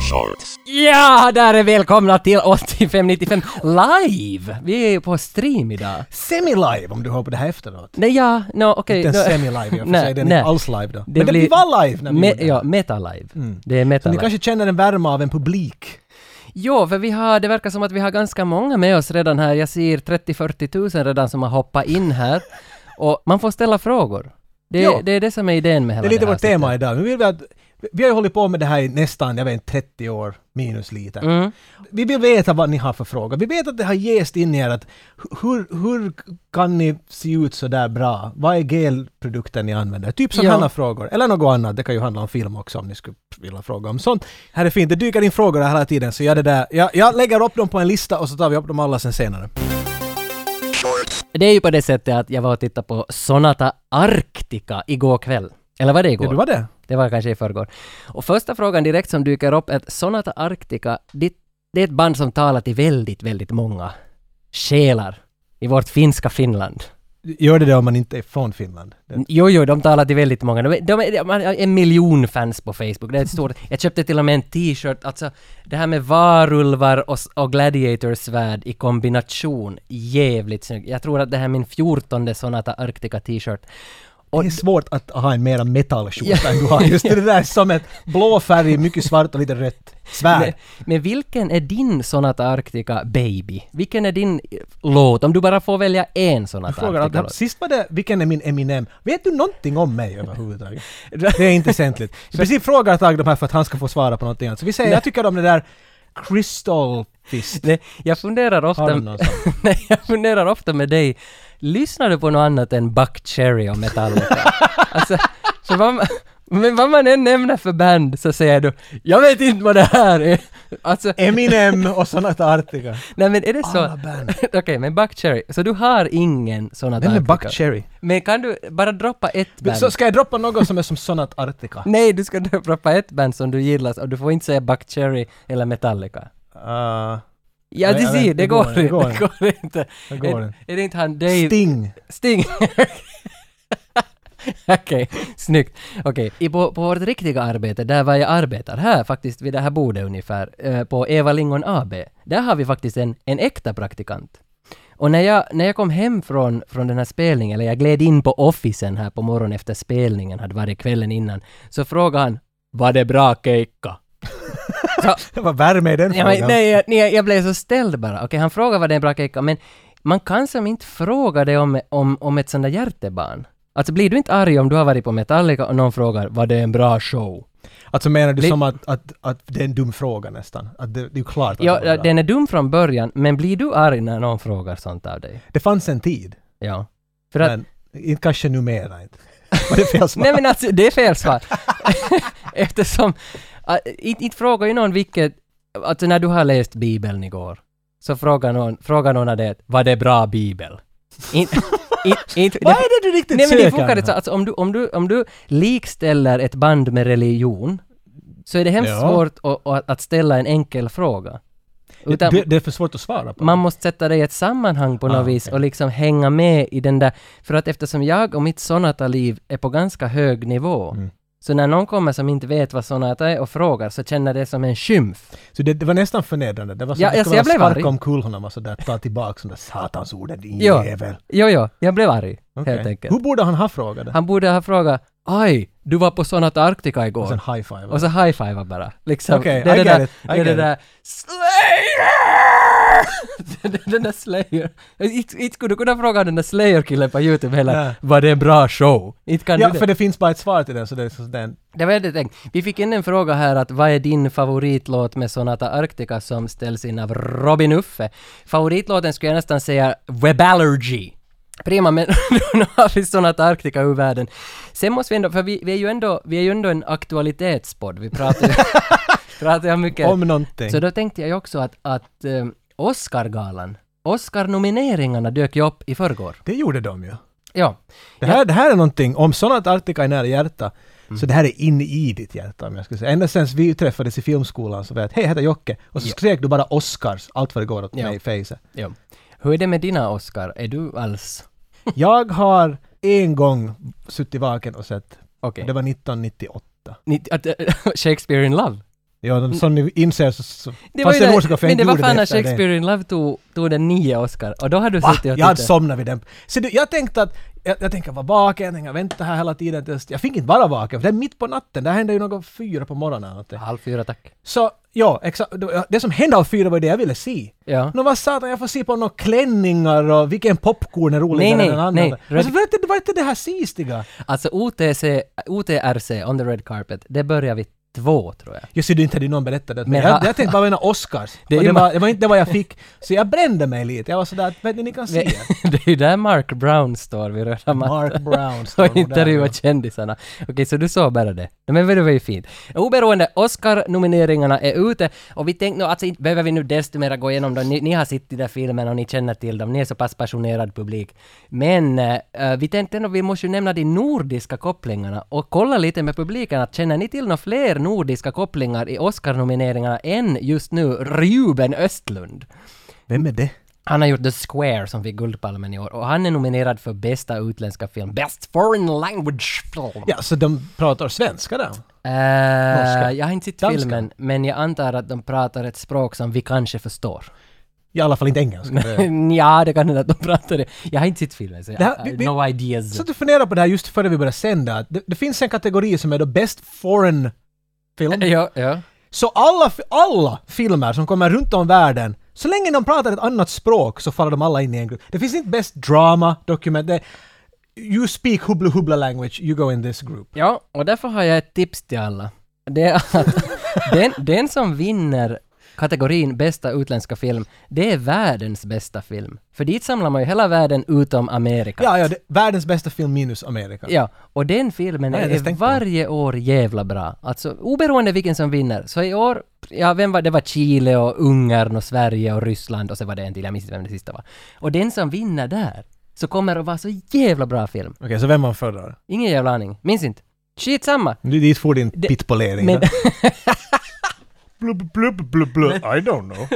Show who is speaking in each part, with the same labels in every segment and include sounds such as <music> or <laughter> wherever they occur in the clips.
Speaker 1: shorts.
Speaker 2: Ja, där är välkomna till 8595 live! Vi är på stream idag.
Speaker 3: Semi-live om du hör på det här efteråt.
Speaker 2: Nej, ja, no, okej.
Speaker 3: Inte
Speaker 2: nå-
Speaker 3: ens semi-live i och
Speaker 2: <laughs>
Speaker 3: för
Speaker 2: nej,
Speaker 3: sig, den är
Speaker 2: nej.
Speaker 3: inte alls live då. Men det var live när vi gjorde
Speaker 2: me,
Speaker 3: det.
Speaker 2: Ja, meta-live. Det är
Speaker 3: Mm. Så ni
Speaker 2: meta-live.
Speaker 3: kanske känner en värme av en publik.
Speaker 2: Jo, för vi har, det verkar som att vi har ganska många med oss redan här. Jag ser 30-40 tusen redan som har hoppat in här. Och man får ställa frågor.
Speaker 3: Ja.
Speaker 2: Det, det är det som är idén med hela
Speaker 3: Det är lite
Speaker 2: här
Speaker 3: vårt
Speaker 2: avsnittet.
Speaker 3: tema idag. Vi, vill väl att, vi har ju hållit på med det här i nästan, jag vet inte, 30 år minus lite.
Speaker 2: Mm.
Speaker 3: Vi vill veta vad ni har för frågor. Vi vet att det har jäst in i er att hu- hur, hur kan ni se ut så där bra? Vad är gelprodukten ni använder? Typ sådana
Speaker 2: Ja.
Speaker 3: här frågor. Eller något annat. Det kan ju handla om film också om ni skulle vilja fråga om sånt. Här är fint. Det dyker in frågor här hela tiden. Så jag, det där, jag, jag lägger upp dem på en lista och så tar vi upp dem alla sen senare.
Speaker 2: Det är ju på det sättet att jag var och tittade på Sonata Arctica igår kväll. Eller var det igår?
Speaker 3: Ja, du var det?
Speaker 2: Det var kanske i förrgår. Och första frågan direkt som dyker upp är att Sonata Arctica, det, det är ett band som talar till väldigt, väldigt många själar i vårt finska Finland.
Speaker 3: Gör det det om man inte är från Finland? Det-
Speaker 2: Jo, jo, de talar till väldigt många. De, är- de, är- de har en miljon fans på Facebook. Det är ett stort... Jag köpte till och med en t-shirt. Alltså, det här med varulvar och, s- och gladiatorsvärd i kombination. Jävligt snyggt. Jag tror att det här är min fjortonde Sonata Arctica t-shirt. Och
Speaker 3: Det är svårt att ha en mera metallskjorta än du har. Just det där som ett blå färg, mycket svart och lite rött
Speaker 2: Men,
Speaker 3: svärd.
Speaker 2: men vilken är din Sonata Arctica baby? Vilken är din eh, låt? Om du bara får välja en
Speaker 3: Du
Speaker 2: Sonata
Speaker 3: frågar alltid,
Speaker 2: Arctica-låt.
Speaker 3: sist var det, vilken är min Eminem? Vet du någonting om mig
Speaker 2: <laughs>
Speaker 3: överhuvudtaget? Det är inte väsentligt. Så i princip frågar jag de här för att han ska få svara på någonting annat. Så vi säger, jag tycker om det där Crystal Fist.
Speaker 2: Nej, jag funderar
Speaker 3: Har
Speaker 2: ofta...
Speaker 3: du någon sån?
Speaker 2: <laughs> Nej, jag funderar ofta med dig. Lyssnar du på något annat än Buck Cherry och Metallica?
Speaker 3: <laughs>
Speaker 2: alltså, så vad man, men vad man än nämner för band så säger du ”Jag vet inte vad det här är”. Alltså,
Speaker 3: Eminem och Sonata
Speaker 2: <laughs>
Speaker 3: Arctica.
Speaker 2: nej men är det så?
Speaker 3: Alla band.
Speaker 2: <laughs> Okej, men Buck Cherry. Så du har ingen sån
Speaker 3: Vem är Buck Cherry?
Speaker 2: Men kan du bara droppa ett band?
Speaker 3: Så ska jag droppa något som är som Sonata Arctica?
Speaker 2: <laughs> Nej, du ska droppa ett band som du gillar och du får inte säga Buck Cherry eller Metallica.
Speaker 3: Uh,
Speaker 2: Ja,
Speaker 3: Nej,
Speaker 2: du
Speaker 3: jag vet,
Speaker 2: ser, det går
Speaker 3: det
Speaker 2: inte.
Speaker 3: går
Speaker 2: Det går inte.
Speaker 3: det går
Speaker 2: är,
Speaker 3: inte.
Speaker 2: är det inte han Dave...
Speaker 3: Sting. <laughs>
Speaker 2: Sting! <laughs> Okej, snyggt. Okej, I på, på vårt riktiga arbete, där var jag arbetar, här faktiskt vid det här bordet ungefär, eh, på Eva Lingon AB, där har vi faktiskt en, en äkta praktikant. Och när jag, när jag kom hem från, från den här spelningen, eller jag gled in på officen här på morgonen efter spelningen, hade varit kvällen innan, så frågade han ”Var det bra keikka?” så,
Speaker 3: Vad värme är den
Speaker 2: <laughs> Ja, men,
Speaker 3: frågan?
Speaker 2: nej, jag- nej, jag blev så ställd bara. Okej, han frågade vad det är en bra kicka, men man kan som inte fråga det om, om, om ett sånt där hjärtebarn. Alltså blir du inte arg om du har varit på Metallica och någon frågar var det en bra show?
Speaker 3: Alltså menar du
Speaker 2: Li-
Speaker 3: som att, att, att det är en dum fråga nästan? Att det, det är ju klart att
Speaker 2: Ja,
Speaker 3: det var bra.
Speaker 2: den är dum från början, men blir du arg när någon frågar sånt av dig?
Speaker 3: Det fanns en tid,
Speaker 2: Ja. För att,
Speaker 3: men inte kanske numera inte. <laughs> Var det fel svar?
Speaker 2: nej men alltså, det är fel svar. <laughs> Eftersom, äh, inte inte frågar ju någon vilket, alltså när du har läst Bibeln igår, så frågar någon, frågar någon av det, var det bra Bibel? In, in, in,
Speaker 3: <laughs> Vad är det du riktigt
Speaker 2: Nej men det
Speaker 3: söker
Speaker 2: funkar
Speaker 3: nu?
Speaker 2: inte så, alltså, om, du, om, du, om du likställer ett band med religion, så är det hemskt
Speaker 3: Ja.
Speaker 2: svårt att, att- att ställa en enkel fråga. Utan
Speaker 3: det, det är för svårt att svara på.
Speaker 2: man måste sätta det i ett sammanhang på något
Speaker 3: Ah,
Speaker 2: vis
Speaker 3: okej.
Speaker 2: och liksom hänga med i den där, för att eftersom jag och mitt sonata-liv är på ganska hög nivå,
Speaker 3: Mm.
Speaker 2: så när någon kommer som inte vet vad sonata är och frågar, så känner det som en skymf.
Speaker 3: Så det, det var nästan förnedrande. Det var som
Speaker 2: Ja,
Speaker 3: att du
Speaker 2: alltså,
Speaker 3: skulle
Speaker 2: jag blev
Speaker 3: sparka
Speaker 2: arg.
Speaker 3: omkull honom och sådär ta tillbaka de där satans orden, din
Speaker 2: Ja,
Speaker 3: jävel.
Speaker 2: Jo, jo, jag blev arg,
Speaker 3: Okej.
Speaker 2: helt enkelt.
Speaker 3: Hur borde han ha frågat det?
Speaker 2: Han borde ha frågat ”Aj, du var på sonata Arctica igår”.
Speaker 3: Och sen high five.
Speaker 2: Och så high-fiva bara. Liksom.
Speaker 3: Okej,
Speaker 2: det är
Speaker 3: I
Speaker 2: det
Speaker 3: get
Speaker 2: där,
Speaker 3: it, I
Speaker 2: det är det
Speaker 3: get
Speaker 2: där <laughs> Slayer! den där Slayer. Inte inte skulle du kunna fråga den där Slayer-killen på YouTube heller.
Speaker 3: Nej.
Speaker 2: Var det en bra show? Inte kan
Speaker 3: ja,
Speaker 2: du det.
Speaker 3: för det finns bara ett svar till det, så det är sådär.
Speaker 2: Det var det jag tänkte. Vi fick in en fråga här att vad är din favoritlåt med Sonata Arctica som ställs in av Robin Uffe? Favoritlåten skulle jag nästan säga Weballergy. Prima, men <laughs> nu har vi Sonata Arctica ur världen. Sen måste vi ändå, för vi, vi är ju ändå, vi är ju ändå en aktualitetspodd, vi pratar
Speaker 3: <laughs>
Speaker 2: ju, pratar ju mycket.
Speaker 3: Om någonting.
Speaker 2: Så då tänkte jag ju också att, att eh, Oscargalan, Oscar-nomineringarna dök ju upp i förrgår.
Speaker 3: Det gjorde de ju.
Speaker 2: Ja. Mm.
Speaker 3: Det här, det här är någonting, om sådana att Arctica är nära hjärta, så det här är in i ditt hjärta om jag skulle säga. Ända sen vi träffades i filmskolan så var jag att hej, jag heter Jocke. Och så
Speaker 2: Ja.
Speaker 3: skrek du bara Oscars allt vad det går åt
Speaker 2: Ja.
Speaker 3: mig i fejset.
Speaker 2: ja. Hur är det med dina Oscar? Är du alls...
Speaker 3: Jag har en gång suttit vaken och sett,
Speaker 2: Okej.
Speaker 3: det var 1998.
Speaker 2: Ni- att, eh, <laughs> Shakespeare in Love?
Speaker 3: Ja, de, som ni inser så... så
Speaker 2: Det var ju
Speaker 3: fast en
Speaker 2: där-
Speaker 3: orsak varför jag
Speaker 2: men det
Speaker 3: inte
Speaker 2: var
Speaker 3: gjorde
Speaker 2: fan
Speaker 3: det
Speaker 2: när
Speaker 3: efter det.
Speaker 2: Shakespeare in Love tog, tog den nio Oscar och då hade du
Speaker 3: Va?
Speaker 2: suttit och
Speaker 3: Jag hade
Speaker 2: tittat.
Speaker 3: somnat vid den. Så du, jag tänkte att jag, jag tänker vara vaken, jag tänker vänta här hela tiden tills... Jag fick inte vara vaken, för det är mitt på natten. Det här hände ju någon fyra på morgonen eller någonting.
Speaker 2: Halv fyra tack.
Speaker 3: Så ja, exakt. Det som hände av fyra var det jag ville se.
Speaker 2: Ja.
Speaker 3: Nå vad satan, jag får se på några klänningar och vilken popcorn är
Speaker 2: Nej,
Speaker 3: roligare
Speaker 2: nej,
Speaker 3: än den andra.
Speaker 2: nej.
Speaker 3: Nej, Alltså, var det, var inte det här sistiga?
Speaker 2: Alltså OTC, OTRC, On the Red Carpet, det börjar vid två tror jag.
Speaker 3: Jag ser du inte hade någon berättade det.
Speaker 2: Men
Speaker 3: Men
Speaker 2: ha-
Speaker 3: jag, jag tänkte bara mina Oscars.
Speaker 2: Det är
Speaker 3: Det,
Speaker 2: ju
Speaker 3: det,
Speaker 2: ma-
Speaker 3: var, det var inte vad jag fick. Så jag brände mig lite. Jag var sådär att, vet ni, ni kan se. det.
Speaker 2: <laughs> det är ju där Mark Brown står vid röda mattan.
Speaker 3: Mark
Speaker 2: <laughs>
Speaker 3: Brown står
Speaker 2: och
Speaker 3: nog där,
Speaker 2: intervjuar
Speaker 3: ja.
Speaker 2: kändisarna. Okej, så du såg bara det. Men det var ju fint. Oberoende, Oscar-nomineringarna är ute och vi tänkte, nå, alltså inte behöver vi nu desto mera gå igenom dem. Ni, ni har sett de där filmerna och ni känner till dem, ni är så pass passionerad publik. Men eh, vi tänkte ändå, vi måste ju nämna de nordiska kopplingarna och kolla lite med publiken att känner ni till några fler nordiska kopplingar i Oscar-nomineringarna än just nu Ruben Östlund?
Speaker 3: Vem är det?
Speaker 2: Han har gjort The Square som fick Guldpalmen i år och han är nominerad för bästa utländska film, Best Foreign Language Film.
Speaker 3: Ja, så de pratar svenska där?
Speaker 2: Eh,
Speaker 3: Norska.
Speaker 2: jag har inte sett
Speaker 3: Danska.
Speaker 2: filmen, men jag antar att de pratar ett språk som vi kanske förstår.
Speaker 3: I alla fall inte engelska. det-
Speaker 2: <laughs> ja, det kan hända att de pratar det. Jag har inte sett filmen, så jag
Speaker 3: Det här-
Speaker 2: har
Speaker 3: vi- vi-
Speaker 2: no ideas.
Speaker 3: <laughs> Så att du funderar på det här just före vi började sända. att Det, det finns en kategori som är då Best Foreign Film.
Speaker 2: ja, ja.
Speaker 3: Så alla, fi- alla filmer som kommer runt om världen, så länge de pratar ett annat språk så faller de alla in i en grupp. Det finns inte bäst drama, dokument, det, You speak hubla hubla language, you go in this group.
Speaker 2: Ja, och därför har jag ett tips till alla. Det är att
Speaker 3: <laughs>
Speaker 2: den, den som vinner kategorin bästa utländska film, det är världens bästa film. För dit samlar man ju hela världen utom Amerika.
Speaker 3: Ja, ja, det, världens bästa film minus Amerika.
Speaker 2: Ja, och den filmen
Speaker 3: Ja, jag
Speaker 2: är
Speaker 3: tänkte på det.
Speaker 2: varje år jävla bra. Alltså oberoende vilken som vinner. Så i år, ja vem var det? var Chile och Ungern och Sverige och Ryssland och så var det en till, jag minns inte vem det sista var. Och den som vinner där, så kommer det att vara så jävla bra film.
Speaker 3: Okej, så vem man föredrar?
Speaker 2: Ingen jävla aning, minns inte. Shit samma.
Speaker 3: Du dit får din
Speaker 2: Det-
Speaker 3: pittpolering.
Speaker 2: men- <laughs>
Speaker 3: <laughs> Men... blub, blub, blub, blub. I don't know.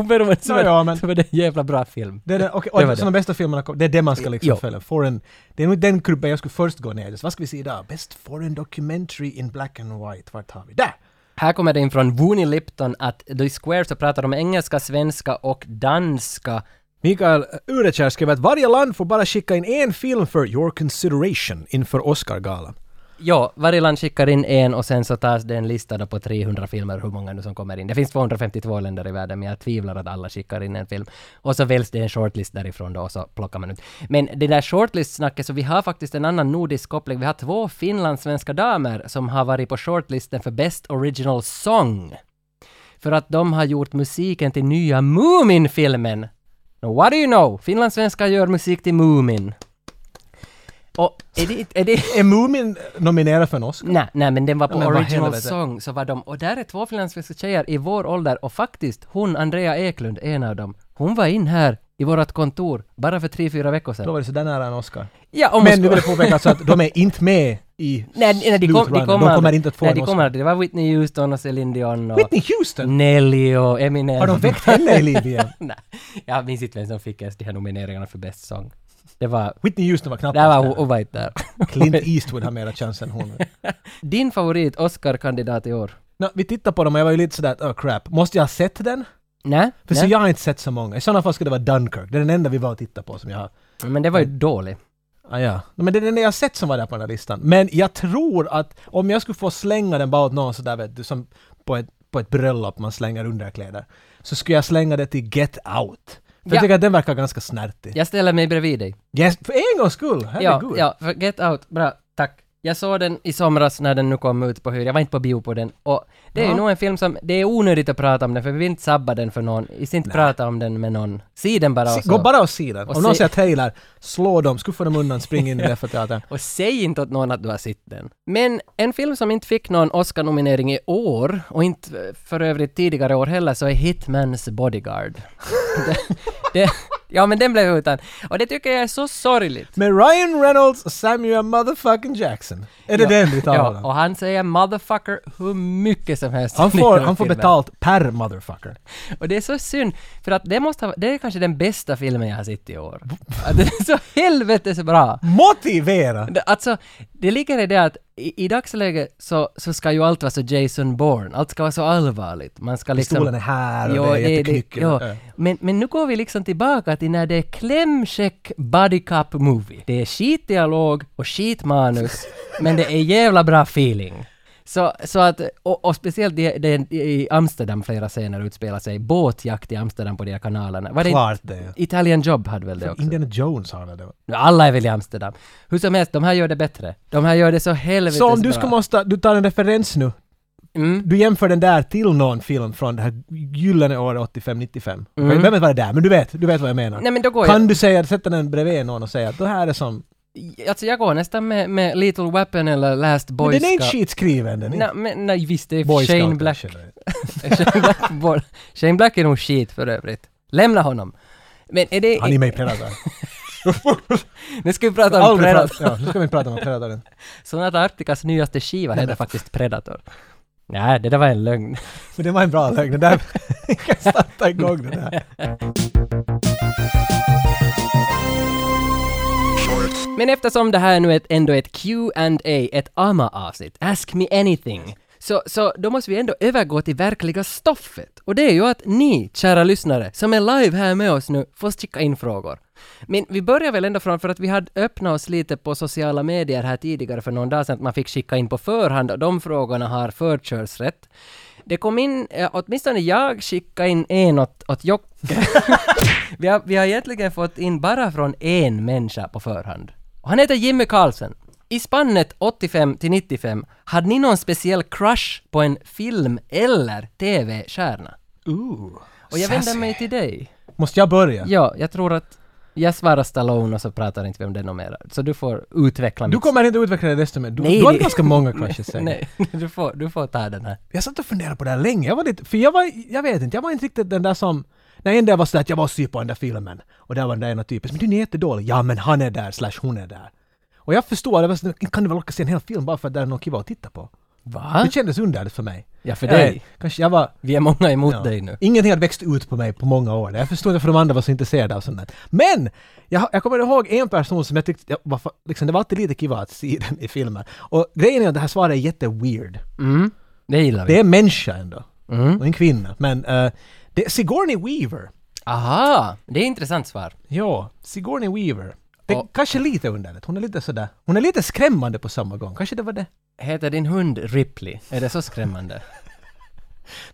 Speaker 2: oberoende så,
Speaker 3: Nå, ja,
Speaker 2: var,
Speaker 3: men-
Speaker 2: så var det en jävla bra film.
Speaker 3: <laughs> Det är det, okay,
Speaker 2: Det var
Speaker 3: och så de bästa filmerna, kom- det är det man ska liksom
Speaker 2: Jo.
Speaker 3: följa. Foreign, det är nog den gruppen jag skulle först gå ner i. Så Vad ska vi se idag? Best foreign documentary in black and white. Vart har vi? Där!
Speaker 2: Här kommer det in från Wooney Lipton att The Square så pratar de engelska, svenska och danska.
Speaker 3: Mikael Urekär skrev att varje land får bara skicka in en film för your consideration inför Oscargalan.
Speaker 2: Ja, varje land skickar in en och sen så tas den listad på 300 filmer, hur många nu som kommer in. Det finns 252 länder i världen, men jag tvivlar att alla skickar in en film. Och så väljs det en shortlist därifrån då och så plockar man ut. Men det där shortlist-snacket, så vi har faktiskt en annan nordisk koppling. Vi har två finlandssvenska damer som har varit på shortlisten för Best Original Song. För att de har gjort musiken till nya Mumin-filmen. Now, what do you know? Finlandssvenskar gör musik till Mumin. Och är det, är det,
Speaker 3: Är Moomin nominerad för en Oscar?
Speaker 2: Nej, nej, men den var på
Speaker 3: Men vad
Speaker 2: original
Speaker 3: helvete.
Speaker 2: song, så var de, och där är två finlandssvenska tjejer i vår ålder, och faktiskt hon, Andrea Eklund, en av dem, hon var in här i vårt kontor bara för tre, fyra veckor
Speaker 3: Då
Speaker 2: sedan.
Speaker 3: var det så där nära en Oscar.
Speaker 2: Ja, om
Speaker 3: Men du vill påpeka alltså att de är inte med i
Speaker 2: <laughs> Nej, nej de, kom, de,
Speaker 3: slutrunnen.
Speaker 2: kom
Speaker 3: de kommer
Speaker 2: aldrig.
Speaker 3: inte att få
Speaker 2: nej,
Speaker 3: en
Speaker 2: de
Speaker 3: Oscar.
Speaker 2: kommer Mm. aldrig. Det var Whitney Houston och Celine Dion och
Speaker 3: Whitney Houston!
Speaker 2: Nelly och Eminem.
Speaker 3: Har de väckt henne i liv igen?
Speaker 2: <laughs> nej, jag minns inte vem som fick ens de här nomineringarna för Bäst sång. Det var...
Speaker 3: Whitney Houston var knappt
Speaker 2: Där var
Speaker 3: där.
Speaker 2: hon, hon var inte där. <laughs>
Speaker 3: Clint Eastwood har mera chans än hon.
Speaker 2: Din favorit Oscar-kandidat i år?
Speaker 3: Nå, vi tittar på dem och jag var ju lite sådär att oh crap, måste jag ha sett den?
Speaker 2: Nej?
Speaker 3: För så
Speaker 2: nej.
Speaker 3: jag har inte sett så många. I sådana fall skulle det vara Dunkirk. Det är den enda vi var och tittade på som jag har
Speaker 2: Men det var ju dålig.
Speaker 3: Ah, ja. No, Men det är den jag har sett som var där på den här listan. Men jag tror att om jag skulle få slänga den bara åt någon sådär vet du, som på ett, på ett bröllop man slänger underkläder, så skulle jag slänga det till Get Out. För
Speaker 2: Ja.
Speaker 3: jag tycker att den verkar ganska snärtig.
Speaker 2: Jag ställer mig bredvid dig.
Speaker 3: Yes, för en gångs skull!
Speaker 2: Ja,
Speaker 3: Herregud!
Speaker 2: ja, för Get Out, bra, tack. Jag såg den i somras när den nu kom ut på hyra, jag var inte på bio på den. Och det är ju
Speaker 3: Ja.
Speaker 2: nog en film som, det är onödigt att prata om den för vi vill inte sabba den för någon, vi ska inte prata om den med någon. Se den bara och
Speaker 3: Se, gå
Speaker 2: så.
Speaker 3: bara och se den.
Speaker 2: Och
Speaker 3: Om någon
Speaker 2: se-
Speaker 3: säger trailer, slå dem, skuffa dem undan, spring in i Leffe-teatern.
Speaker 2: Och säg inte åt någon att du har sett den. Men en film som inte fick någon Oscar-nominering i år, och inte eh, för övrigt tidigare år heller, så är Hitmans Bodyguard. <laughs> det, det, ja men den blev utan. Och det tycker jag är så sorgligt.
Speaker 3: Med Ryan Reynolds och Samuel motherfucking Jackson. Är det den vi talar
Speaker 2: Ja,
Speaker 3: om?
Speaker 2: och han säger motherfucker hur mycket som helst.
Speaker 3: Han
Speaker 2: i den
Speaker 3: får,
Speaker 2: här
Speaker 3: han får
Speaker 2: filmen.
Speaker 3: betalt per motherfucker.
Speaker 2: Och det är så synd, för att det måste ha, det är kanske den bästa filmen jag har sett i år. Att Den är så helvetes bra!
Speaker 3: Motivera!
Speaker 2: Det- Alltså, det ligger i det att i, i dagsläget så, så ska ju allt vara så Jason Bourne, allt ska vara så allvarligt. Man ska liksom...
Speaker 3: Pistolen är här och
Speaker 2: Jo,
Speaker 3: det är jätteknyckel.
Speaker 2: jo.
Speaker 3: Ja.
Speaker 2: Men, men nu går vi liksom tillbaka till när det är klämkäck buddy cop movie. Det är skitdialog och
Speaker 3: <laughs>
Speaker 2: skitmanus, men det är jävla bra feeling. Så, så att, och, och speciellt det, det, i Amsterdam flera scener utspelar sig, båtjakt i Amsterdam på de här kanalerna. Var det inte-
Speaker 3: Klart det.
Speaker 2: Italian Job hade väl det också?
Speaker 3: Indiana Jones har väl det?
Speaker 2: Nu, Alla är väl i Amsterdam. Hur som helst, de här gör det bättre. De här gör det så helvetes
Speaker 3: Så om du
Speaker 2: bra.
Speaker 3: ska måste, du tar en referens nu.
Speaker 2: Mm.
Speaker 3: Du jämför den där till någon film från det här gyllene året 85-95.
Speaker 2: Mm.
Speaker 3: Jag vet inte vad det är, men du vet, du vet vad jag menar.
Speaker 2: Nej men då går
Speaker 3: Kan du säga, sätta den bredvid någon och säga att det här är som...
Speaker 2: jag... Alltså jag går nästan med, med Little Weapon eller Last Boy
Speaker 3: Men den är inte
Speaker 2: Scout.
Speaker 3: skitskriven den. är
Speaker 2: Nej, men, nej visst, det är
Speaker 3: Boy
Speaker 2: Shane
Speaker 3: Scout,
Speaker 2: Black. <laughs>
Speaker 3: kanske det är.
Speaker 2: Shane Black, boll. Shane Black är nog shit för övrigt. Lämna honom. Men är det...
Speaker 3: Han är med
Speaker 2: <laughs>
Speaker 3: i Predator.
Speaker 2: nu ska vi prata om
Speaker 3: Aldrig
Speaker 2: Predator.
Speaker 3: pra- ja, nu ska vi prata om Predator.
Speaker 2: <laughs> Sonata Arcticas nyaste skiva heter faktiskt Predator. Nej, det där var en lögn.
Speaker 3: Men det var en bra lögn. Det där... <laughs> Vi kan starta igång det där.
Speaker 2: Men eftersom det här nu är ett, ändå ett Q&A, ett AMA-avsnitt, Ask Me Anything, så, så då måste vi ändå övergå till verkliga stoffet. Och det är ju att ni, kära lyssnare, som är live här med oss nu, får skicka in frågor. Men vi börjar väl ändå från, för att vi hade öppnat oss lite på sociala medier här tidigare för någon dag sedan, att man fick skicka in på förhand och de frågorna har förkörsrätt. Det kom in, eh, åtminstone jag skickade in en åt, åt Jocke. vi, har, vi har egentligen fått in bara från en människa på förhand. Och han heter Jimmy Karlsson. I spannet 85 till 95, hade ni någon speciell crush på en film eller TV-stjärna?
Speaker 3: Ooh.
Speaker 2: Och jag vänder mig till dig.
Speaker 3: Måste jag börja?
Speaker 2: Ja, jag tror att jag svarar Stallone och så pratar inte vi om det något mer. Så du får utveckla
Speaker 3: Du
Speaker 2: mitt-
Speaker 3: kommer inte utveckla det desto mer. Du,
Speaker 2: Nej,
Speaker 3: du har
Speaker 2: det-
Speaker 3: ganska många crushes
Speaker 2: <laughs>
Speaker 3: säkert.
Speaker 2: Nej, du får, du får ta den här.
Speaker 3: Jag satt och funderade på det här länge. Jag var lite, för jag var, jag vet inte, jag var inte riktigt den där som... Nej, en del var sådär att jag var och såg på den där filmen. Och där var den där ena typen som men den är jättedålig. Ja, men han är där, slash hon är där. Och jag förstår, det var sådär, kan du väl orka se en hel film bara för att det är någon kiva att titta på?
Speaker 2: Va?
Speaker 3: Det kändes underligt för mig.
Speaker 2: Ja, för
Speaker 3: Jag vet,
Speaker 2: dig.
Speaker 3: Kanske jag var...
Speaker 2: Vi är många emot
Speaker 3: Ja.
Speaker 2: dig nu.
Speaker 3: Ingenting hade växt ut på mig på många år. Jag förstod inte för de andra var så intresserade av sånt där. Men! Jag, jag kommer ihåg en person som jag tyckte, jag var, fa- liksom, det var alltid lite kiva att se <laughs> den i filmen. Och grejen är att det här svaret är jätteweird.
Speaker 2: Mm. Det gillar vi.
Speaker 3: Det är en människa ändå.
Speaker 2: Mm.
Speaker 3: Och en kvinna. Men eh, det är Sigourney Weaver.
Speaker 2: Aha! Det är ett intressant svar.
Speaker 3: Ja, Sigourney Weaver. Det är
Speaker 2: Ja.
Speaker 3: kanske lite underligt. Hon är lite sådär. Hon är lite skrämmande på samma gång. Kanske det var det.
Speaker 2: Heter din hund Ripley? Är det så skrämmande?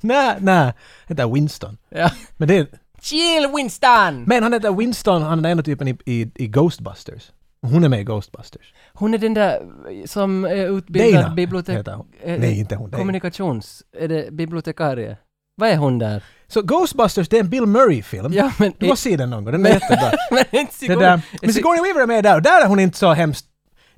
Speaker 3: Nej, nej. Heter Winston.
Speaker 2: ja.
Speaker 3: Men, det är,
Speaker 2: Chill Winston!
Speaker 3: men han heter Winston, han är den ena typen i, i, i Ghostbusters. Hon är med i Ghostbusters.
Speaker 2: Hon är den där eh, som är utbildad
Speaker 3: Dana
Speaker 2: bibliotek...
Speaker 3: heter hon.
Speaker 2: eh,
Speaker 3: Nej, inte hon. Dana.
Speaker 2: Kommunikations... Är det bibliotekarie? Vad är hon där?
Speaker 3: Så Ghostbusters, det är en Bill Murray-film.
Speaker 2: Ja men...
Speaker 3: Du måste se den någon gång, den är jättebra.
Speaker 2: <laughs> men inte
Speaker 3: Det
Speaker 2: Sigourney-
Speaker 3: där. Men Sigourney Weaver är med där och där är hon inte så hemskt...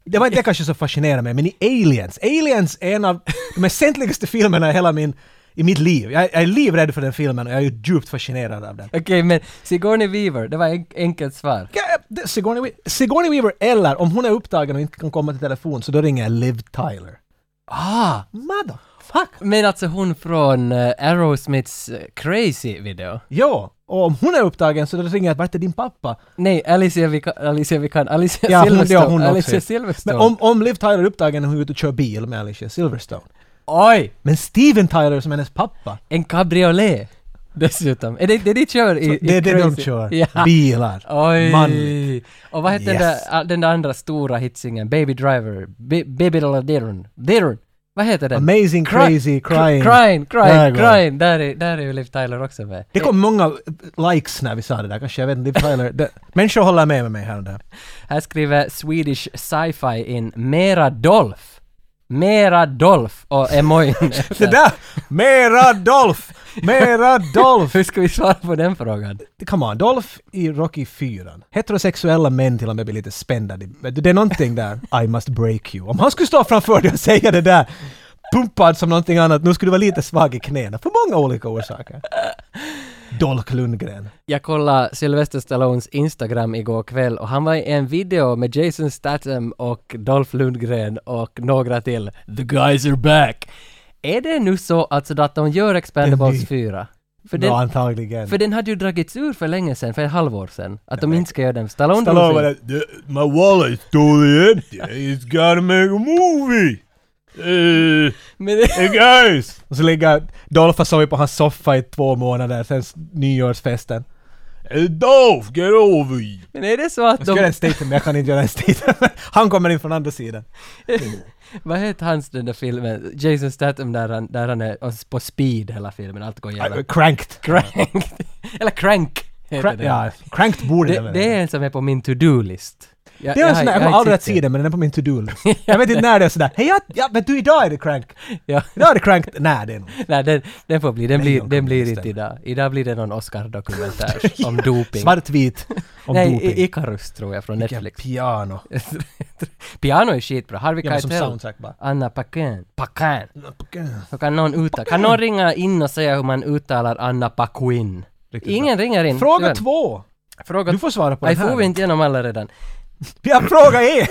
Speaker 3: Det var inte det kanske som fascinerade mig, men i Aliens. Aliens är en av de väsentligaste filmerna i hela min... I mitt liv. Jag, jag är livrädd för den filmen och jag är ju djupt fascinerad av den.
Speaker 2: Okej, men Sigourney Weaver, det var en, enkelt svar.
Speaker 3: Ja, ja, det- Sigourney, Weaver, Sigourney Weaver eller om hon är upptagen och inte kan komma till telefon så då ringer jag Liv Tyler.
Speaker 2: Ah!
Speaker 3: Motherfuck!
Speaker 2: Men alltså hon från eh, Aerosmiths eh, Crazy-video?
Speaker 3: Ja, och om hon är upptagen så då ringer jag vart är din pappa?
Speaker 2: Nej, Alicia Vikander, Alicia Vikander, Alicia
Speaker 3: Ja, hon-
Speaker 2: Silverstone,
Speaker 3: ja, hon också.
Speaker 2: Alicia Silverstone.
Speaker 3: Men om, om Liv Tyler är upptagen är hon ute och kör bil med Alicia Silverstone.
Speaker 2: Oj!
Speaker 3: Men Steven Tyler som hennes pappa,
Speaker 2: En cabriolet! Dessutom. Är det det de kör i, i
Speaker 3: det är det de
Speaker 2: Crazy?
Speaker 3: kör.
Speaker 2: Ja.
Speaker 3: Bilar.
Speaker 2: Oj!
Speaker 3: Manligt.
Speaker 2: Och vad hette den,
Speaker 3: Yes.
Speaker 2: där, ah, den där andra stora hitsingen? Baby Driver? Bi- Baby Dollar Dirun? Dirun? Vad heter den?
Speaker 3: Amazing,
Speaker 2: Cry-
Speaker 3: crazy,
Speaker 2: Crying,
Speaker 3: crying. Där
Speaker 2: crying,
Speaker 3: går det.
Speaker 2: crying! Där är, där är ju Liv Tyler också med.
Speaker 3: Det kom många likes när vi sa det där kanske, jag vet inte, Liv Tyler. Det, människor håller med med mig här och där.
Speaker 2: Här skriver Swedish Sci-Fi in Mera Dolph. Mera Dolph och emojin.
Speaker 3: <laughs> Det där! Mera Dolph! Mera Dolph!
Speaker 2: Hur ska vi svara på den frågan?
Speaker 3: Come on, Dolph i Rocky 4. Heterosexuella män till och med blir lite spända. Det det är någonting där, I must break you. Om han skulle stå framför dig och säga det där, pumpad som någonting annat, nu skulle du vara lite svag i knäna. För många
Speaker 2: <laughs>
Speaker 3: olika orsaker. Dolph Lundgren.
Speaker 2: Jag kollade Sylvester Stallones Instagram igår kväll och han var i en video med Jason Statham och Dolph Lundgren och några till. The guys are back! Är det nu så alltså att de gör
Speaker 3: Det är
Speaker 2: Expendables
Speaker 3: ny.
Speaker 2: 4? För
Speaker 3: Ja,
Speaker 2: den,
Speaker 3: antagligen.
Speaker 2: för den hade ju dragits ur för länge sedan, för ett halvår sedan. Att de
Speaker 3: men-
Speaker 2: inte ska göra den. Stallone, drog
Speaker 3: Stallone
Speaker 2: sig-
Speaker 3: var där, "The- My wallet is totally empty, it's gotta make a movie! Uh,
Speaker 2: Men det,
Speaker 3: hey guys! Och så ligger Dolph och sover på hans soffa i två månader sen s- nyårsfesten. Hey Dolph, get over you!
Speaker 2: men är det så att
Speaker 3: Jag ska göra
Speaker 2: de...
Speaker 3: en statement men jag kan inte göra en statement. <laughs> Han kommer in från andra sidan.
Speaker 2: Vad heter hans den där filmen? Jason Statham där han, där han är på speed hela filmen, allt går
Speaker 3: Ah,
Speaker 2: jävla...
Speaker 3: Cranked.
Speaker 2: Crank! <laughs> Eller crank! Heter
Speaker 3: Crank,
Speaker 2: den.
Speaker 3: ja, cranked borde
Speaker 2: Det, det är en som är på min to-do-list.
Speaker 3: Det är en sån där, jag kommer aldrig att se den men den är på min to-do-list.
Speaker 2: <laughs>
Speaker 3: Jag vet inte när det är sådär, hej ja, ja, men du idag är det crank.
Speaker 2: Ja,
Speaker 3: <laughs> Idag är det crank. Nej, det är nog...
Speaker 2: nej, den, den får bli, den blir,
Speaker 3: Lejonkungen
Speaker 2: den blir inte
Speaker 3: bestämmer.
Speaker 2: idag. Idag blir det någon
Speaker 3: <laughs>
Speaker 2: Oscar-dokumentär om doping.
Speaker 3: Svartvit. Om
Speaker 2: nej,
Speaker 3: doping.
Speaker 2: I- Icarus tror jag från
Speaker 3: Vilken
Speaker 2: Netflix. <laughs>
Speaker 3: Piano.
Speaker 2: Piano är skitbra. Harvey
Speaker 3: Ja, men som
Speaker 2: Keitel,
Speaker 3: soundtrack bara.
Speaker 2: Anna Paquin. Paquin. Så kan någon uttala... Kan någon ringa in och säga hur man uttalar Anna Paquin?
Speaker 3: Riktigt bra.
Speaker 2: Ingen ringer in.
Speaker 3: Fråga
Speaker 2: Tyvärr.
Speaker 3: två!
Speaker 2: Fråga
Speaker 3: Du får svara på
Speaker 2: Nej,
Speaker 3: den
Speaker 2: får vi
Speaker 3: här. E.
Speaker 2: inte igenom alla redan?
Speaker 3: Jag frågar er!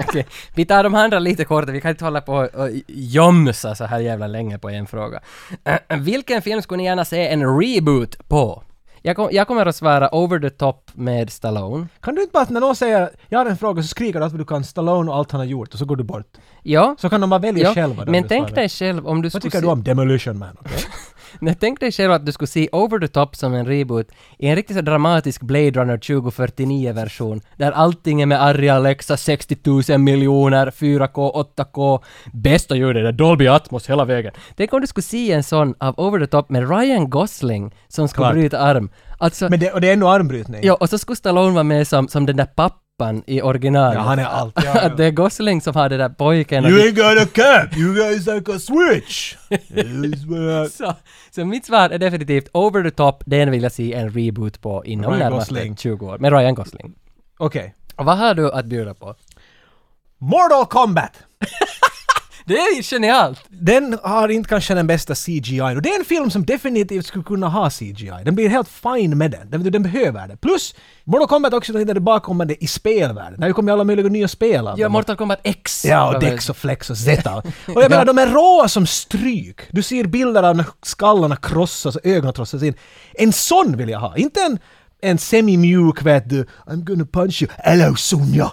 Speaker 2: <laughs> Okej, Vi tar de andra lite kortare, vi kan inte hålla på och och jomsa så här jävla länge på en fråga. Eh, Vilken film skulle ni gärna se en reboot på? Jag, kom, jag kommer att svara Over the Top med Stallone.
Speaker 3: Kan du inte bara, när någon säger jag har en fråga så skriker du att du kan Stallone och allt han har gjort och så går du bort.
Speaker 2: Ja,
Speaker 3: Så kan de bara välja
Speaker 2: ja
Speaker 3: själva. då
Speaker 2: men
Speaker 3: du
Speaker 2: tänk
Speaker 3: svarar.
Speaker 2: dig själv om du
Speaker 3: Vad
Speaker 2: skulle
Speaker 3: tycker
Speaker 2: se,
Speaker 3: du om Demolition Man?
Speaker 2: <laughs>
Speaker 3: Okej.
Speaker 2: Nej, tänk dig själv att du skulle se Over the Top som en reboot i en riktigt så dramatisk Blade Runner 2049-version där allting är med arga Alexa 60 000 miljoner 4K, 8K, bästa ljudet är Dolby Atmos hela vägen. Tänk om du skulle se en sån av Over the Top med Ryan Gosling som skulle
Speaker 3: Klart.
Speaker 2: bryta arm. Alltså,
Speaker 3: Men det, och det är ändå armbrytning.
Speaker 2: ja, och så skulle Stallone vara med som, som den där pappan i originalet.
Speaker 3: Ja, han är allt. Ja, ja.
Speaker 2: <laughs> Att det är Gosling som har den där pojken och
Speaker 3: You ain't got a cap, you guys like a switch! Is what
Speaker 2: <laughs>
Speaker 3: I-
Speaker 2: Så, så mitt svar är definitivt over the top, den vill jag se en reboot på inom
Speaker 3: Ryan
Speaker 2: närmaste
Speaker 3: Gosling.
Speaker 2: 20 år. Med Ryan Gosling.
Speaker 3: Okej.
Speaker 2: Och vad har du att bjuda på?
Speaker 3: Mortal Kombat!
Speaker 2: Det är ju genialt!
Speaker 3: Den har inte kanske den bästa CGI. Och det är en film som definitivt skulle kunna ha CGI. Den blir helt fine med den. Den, den behöver det. Plus, Mortal Kombat också hittar det bakommande i spelvärlden. Där kommer ju alla möjliga nya spel. av
Speaker 2: Ja,
Speaker 3: dem.
Speaker 2: Mortal Kombat X!
Speaker 3: Ja,
Speaker 2: Vad
Speaker 3: och
Speaker 2: var
Speaker 3: Dex
Speaker 2: det?
Speaker 3: och Flex och Zeta. Och jag menar, de är råa som stryk. Du ser bilder av när skallarna krossas och ögonen krossas in. En sån vill jag ha, inte en, en semi-mjuk vet du. I'm gonna punch you. Hello Sonja!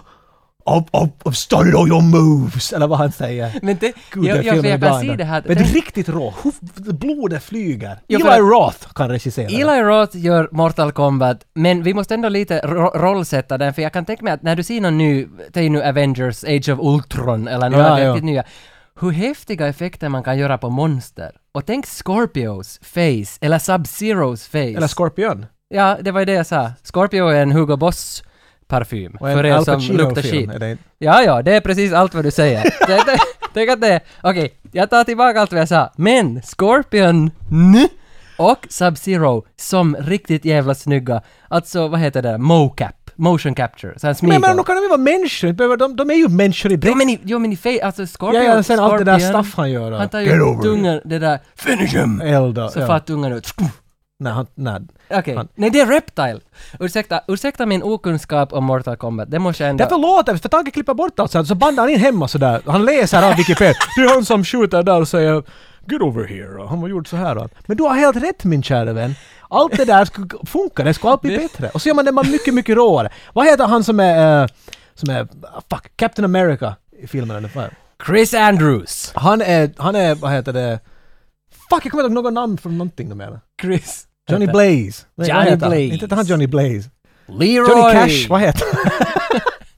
Speaker 3: I've, I've, I've started all your moves! Eller vad
Speaker 2: <laughs>
Speaker 3: han säger.
Speaker 2: Men det...
Speaker 3: Gud,
Speaker 2: ja,
Speaker 3: den
Speaker 2: ja, för
Speaker 3: filmen
Speaker 2: jag kan
Speaker 3: är galen.
Speaker 2: se det här.
Speaker 3: Men det är
Speaker 2: Tänk-
Speaker 3: riktigt rå. Huf- Blodet flyger.
Speaker 2: Ja, för
Speaker 3: Eli
Speaker 2: att-
Speaker 3: Roth kan regissera den.
Speaker 2: Eli Roth gör Mortal Kombat, men vi måste ändå lite ro- rollsätta den, för jag kan tänka mig att när du ser någon ny, säg nu Avengers, Age of Ultron eller några
Speaker 3: Ja, ja.
Speaker 2: riktigt nya, hur häftiga effekter man kan göra på monster. Och tänk Scorpios face, eller Sub-Zeros face.
Speaker 3: Eller Scorpion.
Speaker 2: Ja, det var ju det jag sa. Scorpio är en Hugo Boss parfym.
Speaker 3: Och
Speaker 2: för
Speaker 3: en
Speaker 2: er
Speaker 3: Al
Speaker 2: som luktar
Speaker 3: Pacino-film.
Speaker 2: skit.
Speaker 3: är det-
Speaker 2: Ja, ja, det är precis allt vad du säger.
Speaker 3: <laughs>
Speaker 2: Det- det- Tänk att det är... Okej, jag tar tillbaka allt vad jag sa. Men Scorpion n- och Sub-Zero som riktigt jävla snygga. Alltså, vad heter det? Mocap. Motion capture. Så här
Speaker 3: Men jag menar,
Speaker 2: smigel.
Speaker 3: nog kan de ju vara människor. inte behöver- De, de är ju människor i
Speaker 2: Jo
Speaker 3: dräkt.
Speaker 2: men i, jo, men i fej, alltså Scorpion...
Speaker 3: Ja, ja, sen allt det där
Speaker 2: Scorpion,
Speaker 3: stuff han gör.
Speaker 2: Han tar
Speaker 3: Get
Speaker 2: ju
Speaker 3: over
Speaker 2: tungan, det där... Finish him!
Speaker 3: it. Eld och-
Speaker 2: Så
Speaker 3: ja.
Speaker 2: far tungan ut.
Speaker 3: Nej, han, nej.
Speaker 2: Okej.
Speaker 3: Han-
Speaker 2: Nej, det är Reptile! Ursäkta, ursäkta min okunskap om Mortal Kombat. Det måste jag ändå...
Speaker 3: Därför låter det, för Tage klipper bort allt sånt, så bandar han in hemma sådär. Han läser av <laughs> Wikipedia. Det är han som skjuter där och säger Get over here. Och han har gjort så här. och- Men du har helt rätt min kära vän. Allt det där skulle funka, det skulle allt bli bättre. Och så gör man det man mycket, mycket råare. Vad heter han som är, eh, som är, ah, fuck, Captain America i filmen? eller vad?
Speaker 2: Chris Andrews!
Speaker 3: Han är, han är, vad heter det? Fuck, jag kommer inte ihåg något namn från någonting de menar.
Speaker 2: Chris...
Speaker 3: Johnny
Speaker 2: Vänta.
Speaker 3: Blaze. Nej, vad
Speaker 2: Johnny
Speaker 3: heter han?
Speaker 2: Blaze.
Speaker 3: Inte heter han Johnny Blaze.
Speaker 2: Leroy!
Speaker 3: Johnny Cash, vad heter han? <laughs>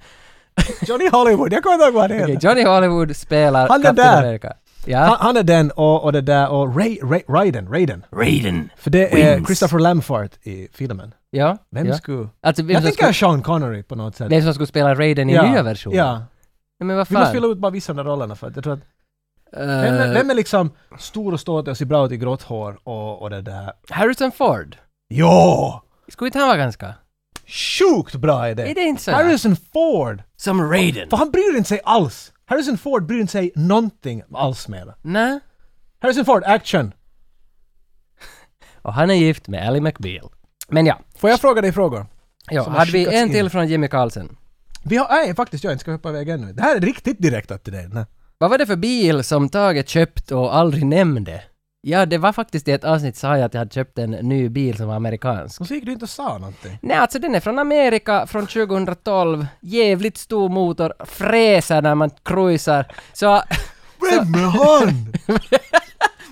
Speaker 3: Johnny Hollywood, jag kommer inte ihåg vad han heter.
Speaker 2: Okej, Johnny Hollywood spelar
Speaker 3: Han är
Speaker 2: Captain
Speaker 3: där.
Speaker 2: America. Ja.
Speaker 3: Han, han är den och, och det där och Ray, Ray, Raiden, Raiden.
Speaker 2: Raiden.
Speaker 3: För det är
Speaker 2: Wings.
Speaker 3: Christopher Lamfart i filmen.
Speaker 2: Ja.
Speaker 3: Vem
Speaker 2: ja.
Speaker 3: skulle...
Speaker 2: Alltså, vem,
Speaker 3: Jag
Speaker 2: som
Speaker 3: tänker
Speaker 2: skulle,
Speaker 3: Sean Connery på något sätt.
Speaker 2: vem som skulle spela Raiden i
Speaker 3: Ja,
Speaker 2: nya versionen?
Speaker 3: Ja.
Speaker 2: Nej, men vad
Speaker 3: Vi måste
Speaker 2: fan.
Speaker 3: fylla ut bara vissa av de rollerna för att jag tror att...
Speaker 2: Eh,
Speaker 3: Vem, är- vem är liksom stor och ståtlig och ser bra ut i grått hår och, och det där?
Speaker 2: Harrison Ford.
Speaker 3: Ja!
Speaker 2: Skulle inte han vara ganska?
Speaker 3: Sjukt bra idé!
Speaker 2: Är det inte så?
Speaker 3: Harrison Ford!
Speaker 2: Som Raiden.
Speaker 3: För han bryr inte sig alls! Harrison Ford bryr inte sig någonting alls mer.
Speaker 2: Nej.
Speaker 3: Harrison Ford, action!
Speaker 2: Och han är gift med Ally McBeal. Men ja.
Speaker 3: Får jag fråga dig frågor?
Speaker 2: ja
Speaker 3: Som har
Speaker 2: hade vi
Speaker 3: skickats
Speaker 2: en
Speaker 3: in.
Speaker 2: till från Jimmy Carlsen?
Speaker 3: Vi har... Nej, faktiskt jag inte. Ska hoppa iväg ännu. Det här är riktigt direktat till dig. Nej.
Speaker 2: Vad var det för bil som Tage köpt och aldrig nämnde? Ja, det var faktiskt i ett avsnitt sa jag att jag hade köpt en ny bil som var amerikansk.
Speaker 3: Och så gick du inte och sa någonting.
Speaker 2: Nej, alltså den är från Amerika från 2012. Jävligt stor motor, fräser när man cruisar. Så <laughs>
Speaker 3: Vem är han?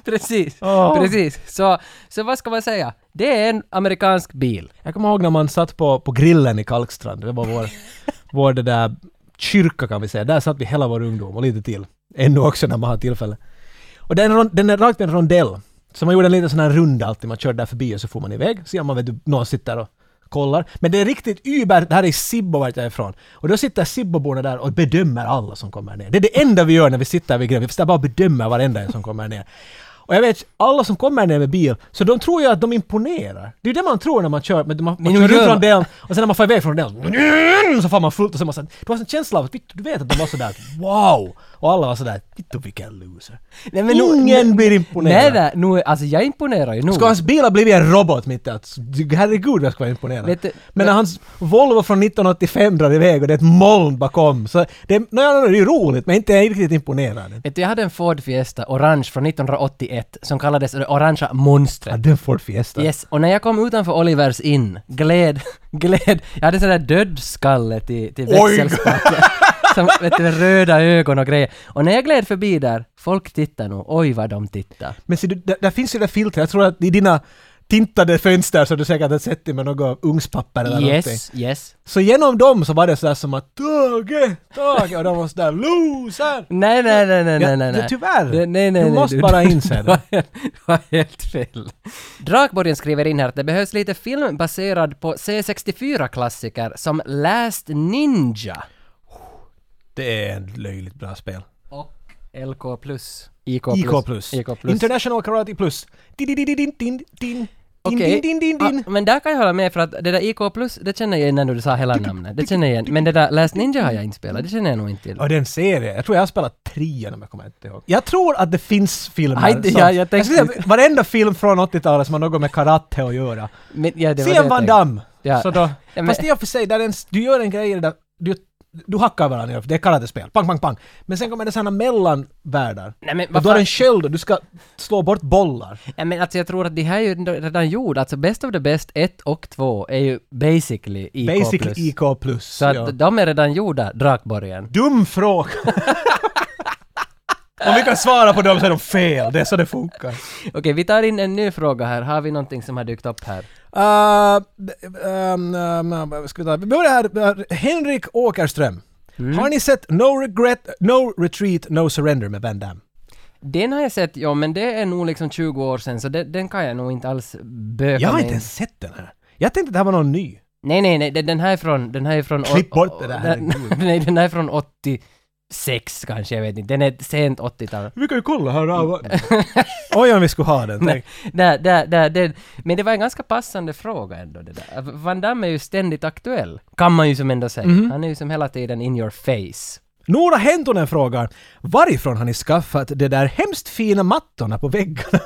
Speaker 2: Precis,
Speaker 3: Åh.
Speaker 2: precis. Så, så vad ska man säga? Det är en amerikansk bil.
Speaker 3: <laughs> Jag kommer ihåg när man satt på, på grillen i Kalkstrand. Det var vår, vår det där kyrka kan vi säga. Där satt vi hela vår ungdom och lite till. Ännu också när man har tillfälle. Och den, ron- den är rakt vid en rondell. Så man gjorde en liten sån här runda alltid. Man körde där förbi och så får man iväg. Ser man vet du, någon sitter och kollar. Men det är riktigt über. Det här är i Sibbo vart jag är ifrån. Och då sitter Sibboborna där och bedömer alla som kommer ner. Det är det enda vi gör när vi sitter vid grillen. Vi sitter bara och bedömer varenda en som kommer ner. Och jag vet, alla som kommer ner med bil, så de tror ju att de imponerar. Det är ju det man tror när man kör, men man,
Speaker 2: Men
Speaker 3: man
Speaker 2: nu
Speaker 3: kör
Speaker 2: gör man-
Speaker 3: ut från den och sen när man får iväg från den så får man fullt och så är man såhär, du har en känsla av att "Vittu, du vet att de var sådär wow! Och alla var sådär, vittu vilken loser.
Speaker 2: Nej, nu-
Speaker 3: Ingen
Speaker 2: nu-
Speaker 3: blir
Speaker 2: Nej,
Speaker 3: imponerad.
Speaker 2: nej, nu, alltså jag imponerar ju nu.
Speaker 3: Ska hans bil ha blivit en robot mitt i allt? Herregud vad jag ska vara imponerad.
Speaker 2: Vet du-
Speaker 3: men när hans Volvo från 1985 drar iväg och det är ett moln bakom så det, no, no, det är ju roligt men inte jag är riktigt imponerad.
Speaker 2: Vet du, jag hade en Ford Fiesta orange från 1981 som kallades det orangea monstret.
Speaker 3: Hade en Ford Fiesta.
Speaker 2: Yes, och när jag kom utanför Olivers in, gled, <laughs> gled, jag hade sån där dödskalle till, till
Speaker 3: Oj!
Speaker 2: växelspaklet. <laughs> som, vet du, röda ögon och grejer. Och när jag gled förbi där, folk tittar nog, oj vad de tittar.
Speaker 3: Men ser du, där, där finns ju det där filtret. Jag tror att i dina tintade fönster så du säkert har sett det med något ungspapper eller någonting.
Speaker 2: Yes, yes.
Speaker 3: Så genom dem så var det sådär som att Tage, Tage och de var sådär loser!
Speaker 2: Nej, nej, nej, nej, nej, nej.
Speaker 3: Ja,
Speaker 2: nej.
Speaker 3: tyvärr.
Speaker 2: Det- nej, nej,
Speaker 3: Du
Speaker 2: nej,
Speaker 3: måste bara
Speaker 2: <laughs>
Speaker 3: inse
Speaker 2: Du har- du har helt fel. Drakborgen skriver in här att det behövs lite film baserad på C64-klassiker som Last Ninja
Speaker 3: Det är en löjligt bra spel.
Speaker 2: och LK+. Plus. IK+.
Speaker 3: IK+. plus.
Speaker 2: IK+. plus.
Speaker 3: International Karate Plus. Din, din, din, din, din, din. Din,
Speaker 2: Okej.
Speaker 3: din, din, din, din.
Speaker 2: Ah, men där kan jag hålla med för att det där IK+, det känner jag igen när du sa hela namnet. Det känner jag igen. Men det där Last Ninja har jag inte spelat, det känner jag nog inte till.
Speaker 3: Och den serien, jag tror jag har spelat tre om jag kommer inte ihåg. Jag tror att det finns filmer
Speaker 2: Aj, det-
Speaker 3: som...
Speaker 2: jag- jag tänkte-
Speaker 3: skulle säga, varenda film från 80-talet som har något med karate att göra.
Speaker 2: Men, ja, det var det
Speaker 3: Se en
Speaker 2: jag
Speaker 3: Van
Speaker 2: tänkte.
Speaker 3: Damme!
Speaker 2: Ja.
Speaker 3: Så då,
Speaker 2: Ja, men-
Speaker 3: Fast i och för sig, där är en, du gör en grej där du, du hackar varandra, det är karatespel, pang, pang, pang. Men sen kommer det sådana mellanvärldar.
Speaker 2: Nej, men
Speaker 3: och
Speaker 2: vad
Speaker 3: du har
Speaker 2: fan-
Speaker 3: en sköld och du ska slå bort bollar.
Speaker 2: Ja, men alltså jag tror att det här är ju ändå redan gjort. Alltså Best of the Best 1 och 2 är ju basically IK+.
Speaker 3: Basically IK+. Plus,
Speaker 2: Så att de är redan gjorda, Drakborgen.
Speaker 3: Dum fråga! Om vi kan svara på dem så är de fel, det är så det funkar.
Speaker 2: Okej, vi tar in en ny fråga här. Har vi någonting som har dykt upp här?
Speaker 3: Uh, um, um, vad ska vi ta? Vi börjar här. Uh, Henrik Åkerström. Har ni sett No Regret, No Retreat, No Surrender med Van Damme?
Speaker 2: Den har jag sett, ja men det är nog liksom 20 år sedan så den, den kan jag nog inte alls böka
Speaker 3: Jag har
Speaker 2: med.
Speaker 3: inte ens sett den här. Jag tänkte att det här var någon ny.
Speaker 2: Nej, nej, nej, den den här är från... Den här är från
Speaker 3: Klipp
Speaker 2: å- å-
Speaker 3: bort det där,
Speaker 2: den, <laughs>
Speaker 3: herregud.
Speaker 2: Nej, den här är från 86 kanske, jag vet inte. Den är sent 80-tal.
Speaker 3: Vi kan ju kolla här. <laughs> Oj om vi skulle ha den.
Speaker 2: Nej, där, där, där, den. Men det var en ganska passande fråga ändå det där. Van Damme är ju ständigt aktuell, kan man ju som ändå säga.
Speaker 3: Mhm.
Speaker 2: Han är ju som hela tiden in your face.
Speaker 3: Nora Hentonen frågar varifrån har ni skaffat de där hemskt fina mattorna på väggarna?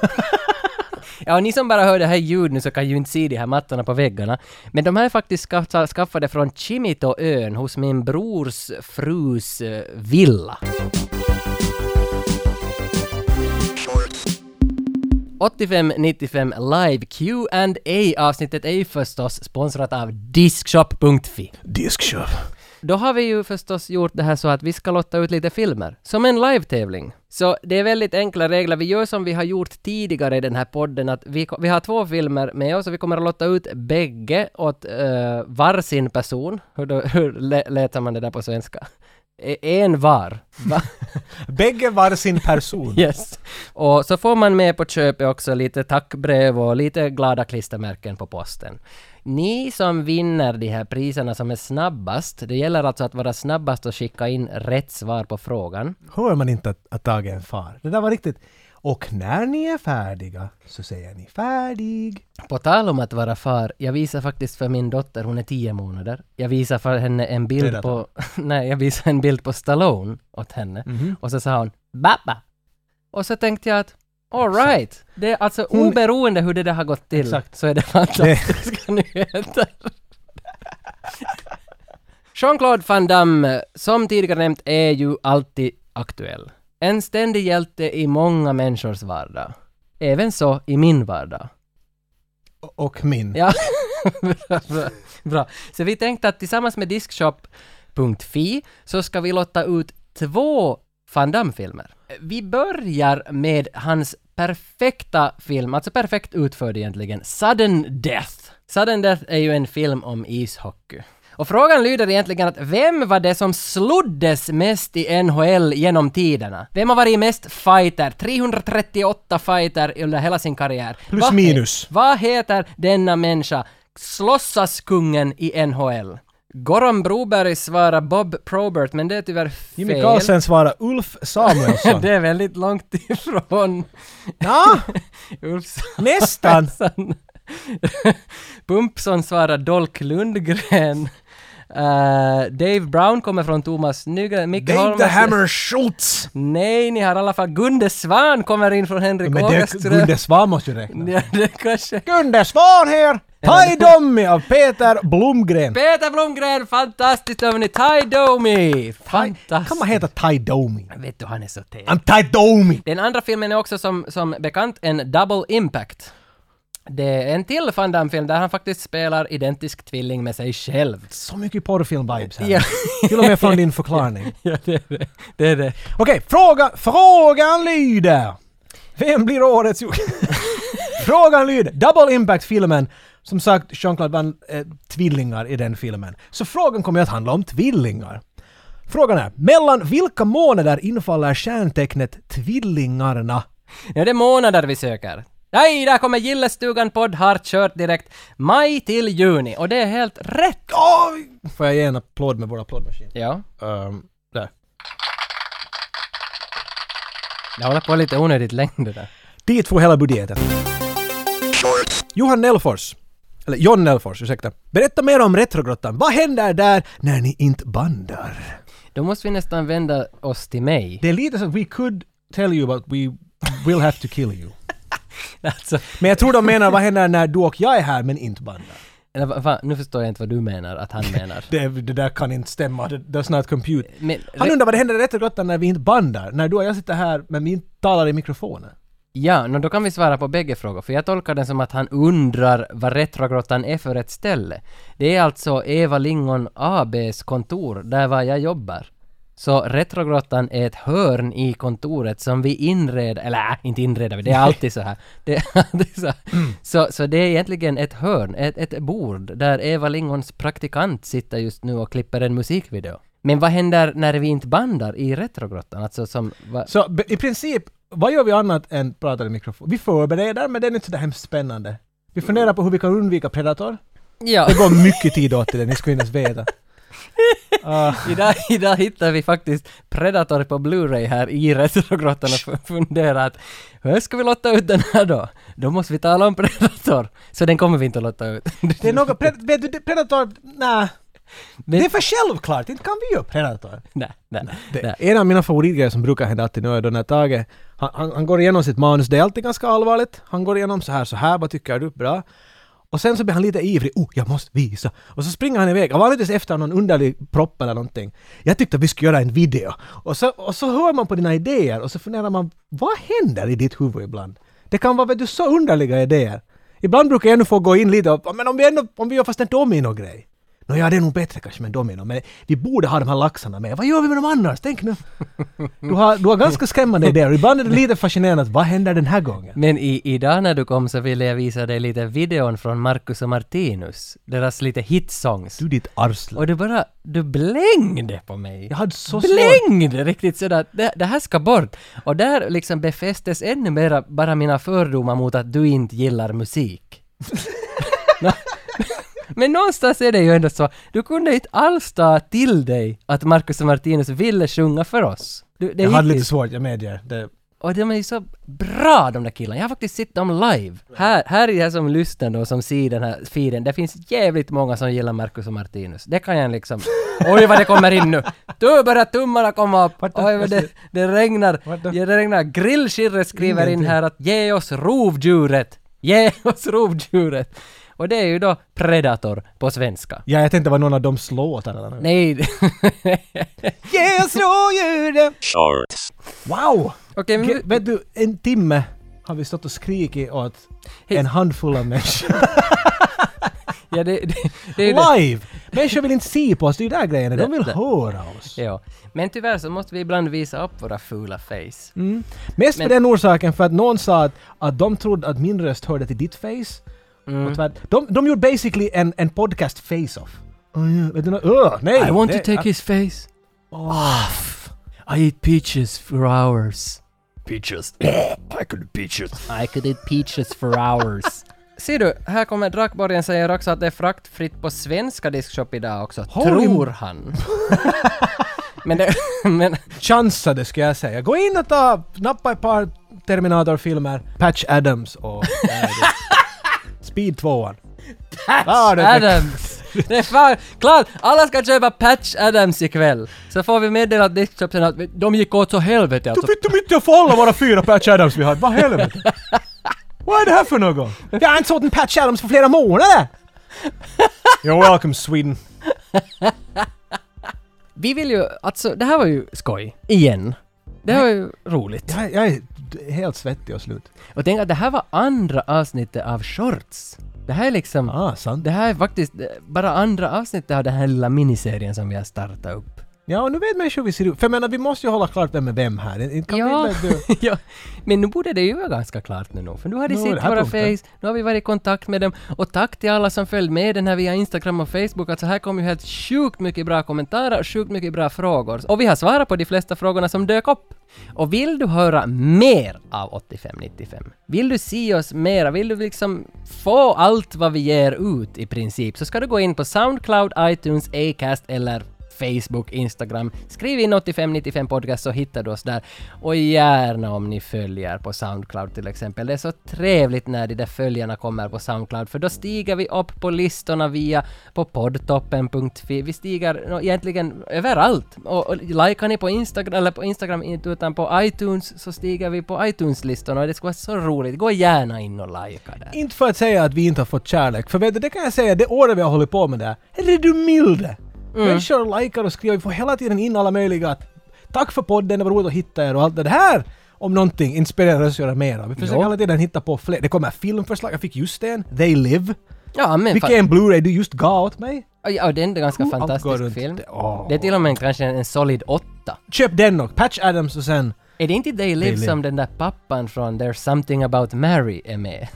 Speaker 2: Ja, och ni som bara hör det här ljud nu så kan ju inte se de här mattorna på väggarna. Men de här är faktiskt skaffa- skaffade från Chimitoön hos min brors frus eh, villa. 85-95 Live Q&A avsnittet är ju förstås sponsrat av Diskshop.fi.
Speaker 3: Diskköp.
Speaker 2: Då har vi ju förstås gjort det här så att vi ska lotta ut lite filmer, som en live-tävling. Så det är väldigt enkla regler. Vi gör som vi har gjort tidigare i den här podden, att vi, vi har två filmer med oss och vi kommer att lotta ut bägge åt uh, varsin person. Hur, då, hur lä- läser man det där på svenska? E- En var. Va?
Speaker 3: Bägge var sin person.
Speaker 2: Yes. Och så får man med på köpet också lite tackbrev och lite glada klistermärken på posten. Ni som vinner de här priserna som är snabbast, det gäller alltså att vara snabbast och skicka in rätt svar på frågan.
Speaker 3: Hör man inte att, att Tage är en far? Det där var riktigt. Och när ni är färdiga så säger ni färdig.
Speaker 2: På tal om att vara far, jag visar faktiskt för min dotter, hon är 10 månader, jag visar för henne en
Speaker 3: Det
Speaker 2: bild
Speaker 3: är
Speaker 2: på... <laughs> nej, jag visar en bild på Stallone åt henne. Och så sa hon ”Babba”. Och så tänkte jag att all right, det är alltså
Speaker 3: Hon-
Speaker 2: oberoende hur det där har gått till
Speaker 3: Exakt.
Speaker 2: så är det fantastiska <laughs> nyheter. Jean-Claude Van Damme, som tidigare nämnt, är ju alltid aktuell. En ständig hjälte i många människors vardag. Även så i min vardag.
Speaker 3: Och min.
Speaker 2: Ja, bra, bra, <laughs> bra. Så vi tänkte att tillsammans med Diskshop.fi så ska vi lotta ut två Van Damme-filmer. vi börjar med hans perfekta film, alltså perfekt utförd egentligen, Sudden Death. Sudden Death är ju en film om ishockey. Och frågan lyder egentligen att vem var det som sloddes mest i NHL genom tiderna? Vem har varit mest fighter? 338 fighter under hela sin karriär.
Speaker 3: Plus
Speaker 2: Vad he-
Speaker 3: minus.
Speaker 2: Vad heter denna människa? Slåssaskungen i NHL. Goran Broberg svarar Bob Probert, men det är tyvärr fel.
Speaker 3: Jimmy Karlsson svarar Ulf
Speaker 2: <laughs>
Speaker 3: Samuelsson.
Speaker 2: Det är väldigt långt ifrån
Speaker 3: ja,
Speaker 2: Ulf <laughs>
Speaker 3: nästan!
Speaker 2: Svensson. Pumpson svarar Dolk Lundgren. Eh, Dave Brown kommer från Thomas Nygren. Micke
Speaker 3: Dave
Speaker 2: Holm-
Speaker 3: the Hammer Schultz!
Speaker 2: Nej, ni har i alla fall... Gunde Svan kommer in från Henrik
Speaker 3: Men det,
Speaker 2: Ågeström.
Speaker 3: Gunde Svan måste ju
Speaker 2: <laughs>
Speaker 3: räkna.
Speaker 2: Ja, det kanske...
Speaker 3: Gunde Svan här! Tai Dommy av Peter Blomgren.
Speaker 2: Peter Blomgren, fantastiskt hörni! Ty Domi! Fantastiskt!
Speaker 3: Kan man heta Tai Domi?
Speaker 2: Vet du, han är så tät.
Speaker 3: I'm Tai Domi!
Speaker 2: Den andra filmen är också som, som bekant en double impact. Det är en till Van Damme-film där han faktiskt spelar identisk tvilling med sig själv.
Speaker 3: Så mycket porrfilm-vibes
Speaker 2: <laughs>
Speaker 3: här.
Speaker 2: Ja,
Speaker 3: Till och med från
Speaker 2: <laughs>
Speaker 3: din förklaring.
Speaker 2: ja det är det. det, är det.
Speaker 3: Okej, fråga, frågan lyder... Vem blir årets... ju- frågan lyder... Double Impact-filmen. Som sagt, Jean-Claude Van... Eh, tvillingar i den filmen. Så frågan kommer ju att handla om tvillingar. Frågan är, mellan vilka månader infaller stjärntecknet tvillingarna?
Speaker 2: Nu är det månader vi söker. Nej, där kommer Gillestugan podd har kört direkt maj till juni och det är helt rätt!
Speaker 3: Oh! Får jag ge en applåd med vår applådmaskin?
Speaker 2: Ja,
Speaker 3: Ehm, där.
Speaker 2: det håller på lite onödigt länge det där.
Speaker 3: Dit får hela budgeten. Johan Nelfors, eller John Nelfors, ursäkta. Berätta mer om Retrogrottan. Vad händer där när ni inte bandar?
Speaker 2: Då måste vi nästan vända oss till mig.
Speaker 3: Det är lite som “We could tell you but we will have to kill you”.
Speaker 2: <laughs> Alltså,
Speaker 3: Men jag tror de menar vad händer när du och jag är här men inte bandar.
Speaker 2: eller vad fan, nu förstår jag inte vad du menar att han menar.
Speaker 3: Det, det där kan inte stämma, det does not compute.
Speaker 2: Men,
Speaker 3: Han undrar vad det händer i Retrogrottan när vi inte bandar? När du och jag sitter här men vi inte talar i mikrofonen.
Speaker 2: Ja, nå då kan vi svara på bägge frågor, för jag tolkar den som att han undrar vad Retrogrottan är för ett ställe. Det är alltså Eva Lingon ABs kontor, där var jag jobbar. Så Retrogrottan är ett hörn i kontoret som vi inreder, eller äh, inte inreder vi, det är alltid så här. Det är alltid så, här. så, så det är egentligen ett hörn, ett, ett bord, där Eva Lingons praktikant sitter just nu och klipper en musikvideo. Men vad händer när vi inte bandar i Retrogrottan? Alltså som... Va,
Speaker 3: Så be- i princip, vad gör vi annat än pratar i mikrofon? Vi förbereder, men det är inte sådär hemskt spännande. Vi funderar på hur vi kan undvika Predator.
Speaker 2: ja.
Speaker 3: Det går mycket tid åt till det, ni skulle inte ens veta. Ah,
Speaker 2: Idag, idag hittar vi faktiskt Predator på Blu-ray här i Retrogrottan och f- funderar att hur ska vi lotta ut den här då? Då måste vi tala om Predator. Så den kommer vi inte att lotta ut. <laughs>
Speaker 3: det är något, pred, vet du, det- Predator, nej.
Speaker 2: Men-
Speaker 3: Det är för självklart, inte kan vi göra Predator.
Speaker 2: nej, nej,
Speaker 3: Det,
Speaker 2: nej.
Speaker 3: En av mina favoritgrejer som brukar hända alltid nu är då när Tage, han, han, han går igenom sitt manus, det är alltid ganska allvarligt. Han går igenom så här, så här, vad tycker du? Bra. Och sen så blir han lite ivrig, oh, jag måste visa. Och så springer han iväg, och vanligtvis efter någon underlig propp eller någonting. Jag tyckte vi skulle göra en video. Och så, och så hör man på dina idéer och så funderar man, vad händer i ditt huvud ibland? Det kan vara vet du, så underliga idéer. Ibland brukar jag ändå få gå in lite och, men om vi, ändå, om vi gör fast en domino-grej. Nåja, det är nog bättre kanske med domino, men vi borde ha de här laxarna med. Vad gör vi med dem annars? Tänk <laughs> nu! Du har, du har ganska skrämmande idéer. Ibland är det lite fascinerande, att vad händer den här gången?
Speaker 2: Men i, idag när du kom så ville jag visa dig lite videon från Marcus och Martinus. Deras lite hitsongs.
Speaker 3: Du ditt arsle.
Speaker 2: Och du bara, du blängde på mig.
Speaker 3: Jag hade så svårt.
Speaker 2: blängd! Riktigt sådär, det, det här ska bort. Och där liksom befästes ännu mera bara mina fördomar mot att du inte gillar
Speaker 3: <laughs>
Speaker 2: musik. Nå- Men någonstans är det ju ändå så, du kunde inte alls ta till dig att Marcus och Martinus ville sjunga för oss. Du, det
Speaker 3: Jag
Speaker 2: gick
Speaker 3: hade lite
Speaker 2: inte.
Speaker 3: svårt, jag medger. Det,
Speaker 2: Och de är ju så bra de där killarna, jag har faktiskt sett dem live. Här, här är jag som lyssnar då, som ser den här feeden, det finns jävligt många som gillar Marcus och Martinus. Det kan jag liksom... Oj vad det kommer in nu! Du börjar tummarna komma upp!
Speaker 3: What the-
Speaker 2: Oj vad det, det regnar!
Speaker 3: What the-
Speaker 2: Ja, det regnar! Grillkirre skriver in
Speaker 3: Ingenting.
Speaker 2: här att ge oss rovdjuret! Ge oss rovdjuret! Och det är ju då Predator på svenska.
Speaker 3: ja, jag tänkte det var någon av de låtar eller något.
Speaker 2: Nej! <laughs>
Speaker 3: Ge oss rådjuren!
Speaker 1: shorts,
Speaker 3: Wow!
Speaker 2: Okej, men
Speaker 3: Ge- Vet du, en timme har vi stått och skrikit åt
Speaker 2: Hej.
Speaker 3: en handfull av människor.
Speaker 2: ja, det, det, det är ju det.
Speaker 3: Live! Människor vill inte se på oss, det är ju där grejen är. De vill
Speaker 2: Det- det-
Speaker 3: höra oss.
Speaker 2: Ja. Men tyvärr så måste vi ibland visa upp våra fula face.
Speaker 3: Mm. Mest för
Speaker 2: Men-
Speaker 3: den orsaken för att någon sa att, att de trodde att min röst hörde till ditt face.
Speaker 2: Mm.
Speaker 3: Och tvärt, de, de gjorde basically en, en podcast face-off. Mm, vet du nå- Öh, nej!
Speaker 2: I want
Speaker 3: det-
Speaker 2: to take his face off. I eat peaches for hours. Peaches. <laughs> I could peaches. I could eat peaches for hours. <laughs> Ser du, här kommer Drakborgen säger också att det är fraktfritt på svenska diskshop idag också.
Speaker 3: Holy-
Speaker 2: Tror han. <laughs> men det... Men,
Speaker 3: chansade ska jag säga. Gå in och ta, nappa ett par Terminator-filmer. Patch Adams och... vad är det? <laughs> Speed 2 Ja,
Speaker 2: <laughs>
Speaker 3: det-
Speaker 2: Adams! Det är fan... Klart! Alla ska köpa Patch Adams ikväll! Så får vi meddela att diskshopsen att de gick åt så helvete
Speaker 3: Du
Speaker 2: alltså.
Speaker 3: fick du inte att falla våra fyra Patch Adams vi hade, vad helvete? Vad är det här för något? Jag har inte såg en Patch Adams för flera månader! You're welcome Sweden.
Speaker 2: Vi vill ju... Alltså, det här var ju skoj. Igen. Det här var ju roligt.
Speaker 3: Jag, jag är d- helt svettig och slut.
Speaker 2: Och tänk att det här var andra avsnittet av Shorts. Det här är liksom...
Speaker 3: Ah, sant.
Speaker 2: Det här är faktiskt eh, bara andra avsnittet av den här lilla miniserien som vi har startat upp.
Speaker 3: Ja, och nu vet man ju hur vi ser ut. För jag menar, vi måste ju hålla klart vem är vem här. Det- det Kan vi
Speaker 2: ja.
Speaker 3: inte bara-
Speaker 2: <laughs> ja. Men nu borde det ju vara ganska klart nu nog, för nu har de
Speaker 3: Nu, det
Speaker 2: sett
Speaker 3: här
Speaker 2: våra
Speaker 3: punkten.
Speaker 2: face, nu har vi varit i kontakt med dem och tack till alla som följde med den här via Instagram och Facebook. Alltså här kom ju helt sjukt mycket bra kommentarer, sjukt mycket bra frågor. Och vi har svarat på de flesta frågorna som dök upp. Och vill du höra mer av 8595? Vill du se oss mera? Vill du liksom få allt vad vi ger ut i princip? Så ska du gå in på Soundcloud, iTunes, Acast eller Facebook, Instagram. Skriv in 8595 podcast så hittar du oss där. Och gärna om ni följer på Soundcloud till exempel. Det är så trevligt när de där följarna kommer på Soundcloud för då stiger vi upp på listorna via på poddtoppen.fi. Vi stiger nå, egentligen överallt. Och, och likar ni på Instagram, eller på Instagram inte utan på iTunes så stiger vi på iTunes-listorna och det skulle vara så roligt. Gå gärna in och likea där.
Speaker 3: Inte för att säga att vi inte har fått kärlek, för vet du, det kan jag säga, det året vi har hållit på med det här, här är du milde!
Speaker 2: Mm.
Speaker 3: Människor likar och skriver, vi får hela tiden in alla möjliga att tack för podden, det var roligt att hitta er och allt det här om någonting inspirerar oss att göra mer. Vi försöker
Speaker 2: Ja.
Speaker 3: hela tiden hitta på fler. Det kommer filmförslag, jag fick just en, They Live,
Speaker 2: Ja, men fa-
Speaker 3: vilken Blu-ray du just gav åt mig.
Speaker 2: ja, det är en ganska
Speaker 3: Allt går
Speaker 2: fantastisk
Speaker 3: runt
Speaker 2: film.
Speaker 3: det. Åh.
Speaker 2: Det är till och med en- kanske en, en solid åtta.
Speaker 3: Köp den och Patch Adams och sen
Speaker 2: Är det inte They Live
Speaker 3: Live.
Speaker 2: som den där pappan från There's Something About Mary är med?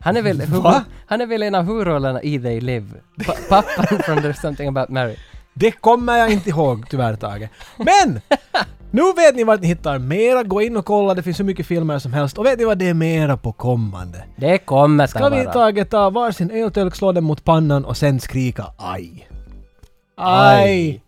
Speaker 2: Han är väl,
Speaker 3: Va?
Speaker 2: han är väl en av huvudrollerna i They Live? Pa- pappan från There's Something About Mary.
Speaker 3: Det kommer jag inte ihåg tyvärr Tage. Men! Nu vet ni vart ni hittar mera, gå in och kolla, det finns hur mycket filmer som helst. Och vet ni vad det är mera på kommande?
Speaker 2: Det kommer
Speaker 3: Ska vi
Speaker 2: Tamara.
Speaker 3: Tage ta varsin öltölk, slå den mot pannan och sen skrika aj?
Speaker 2: Aj.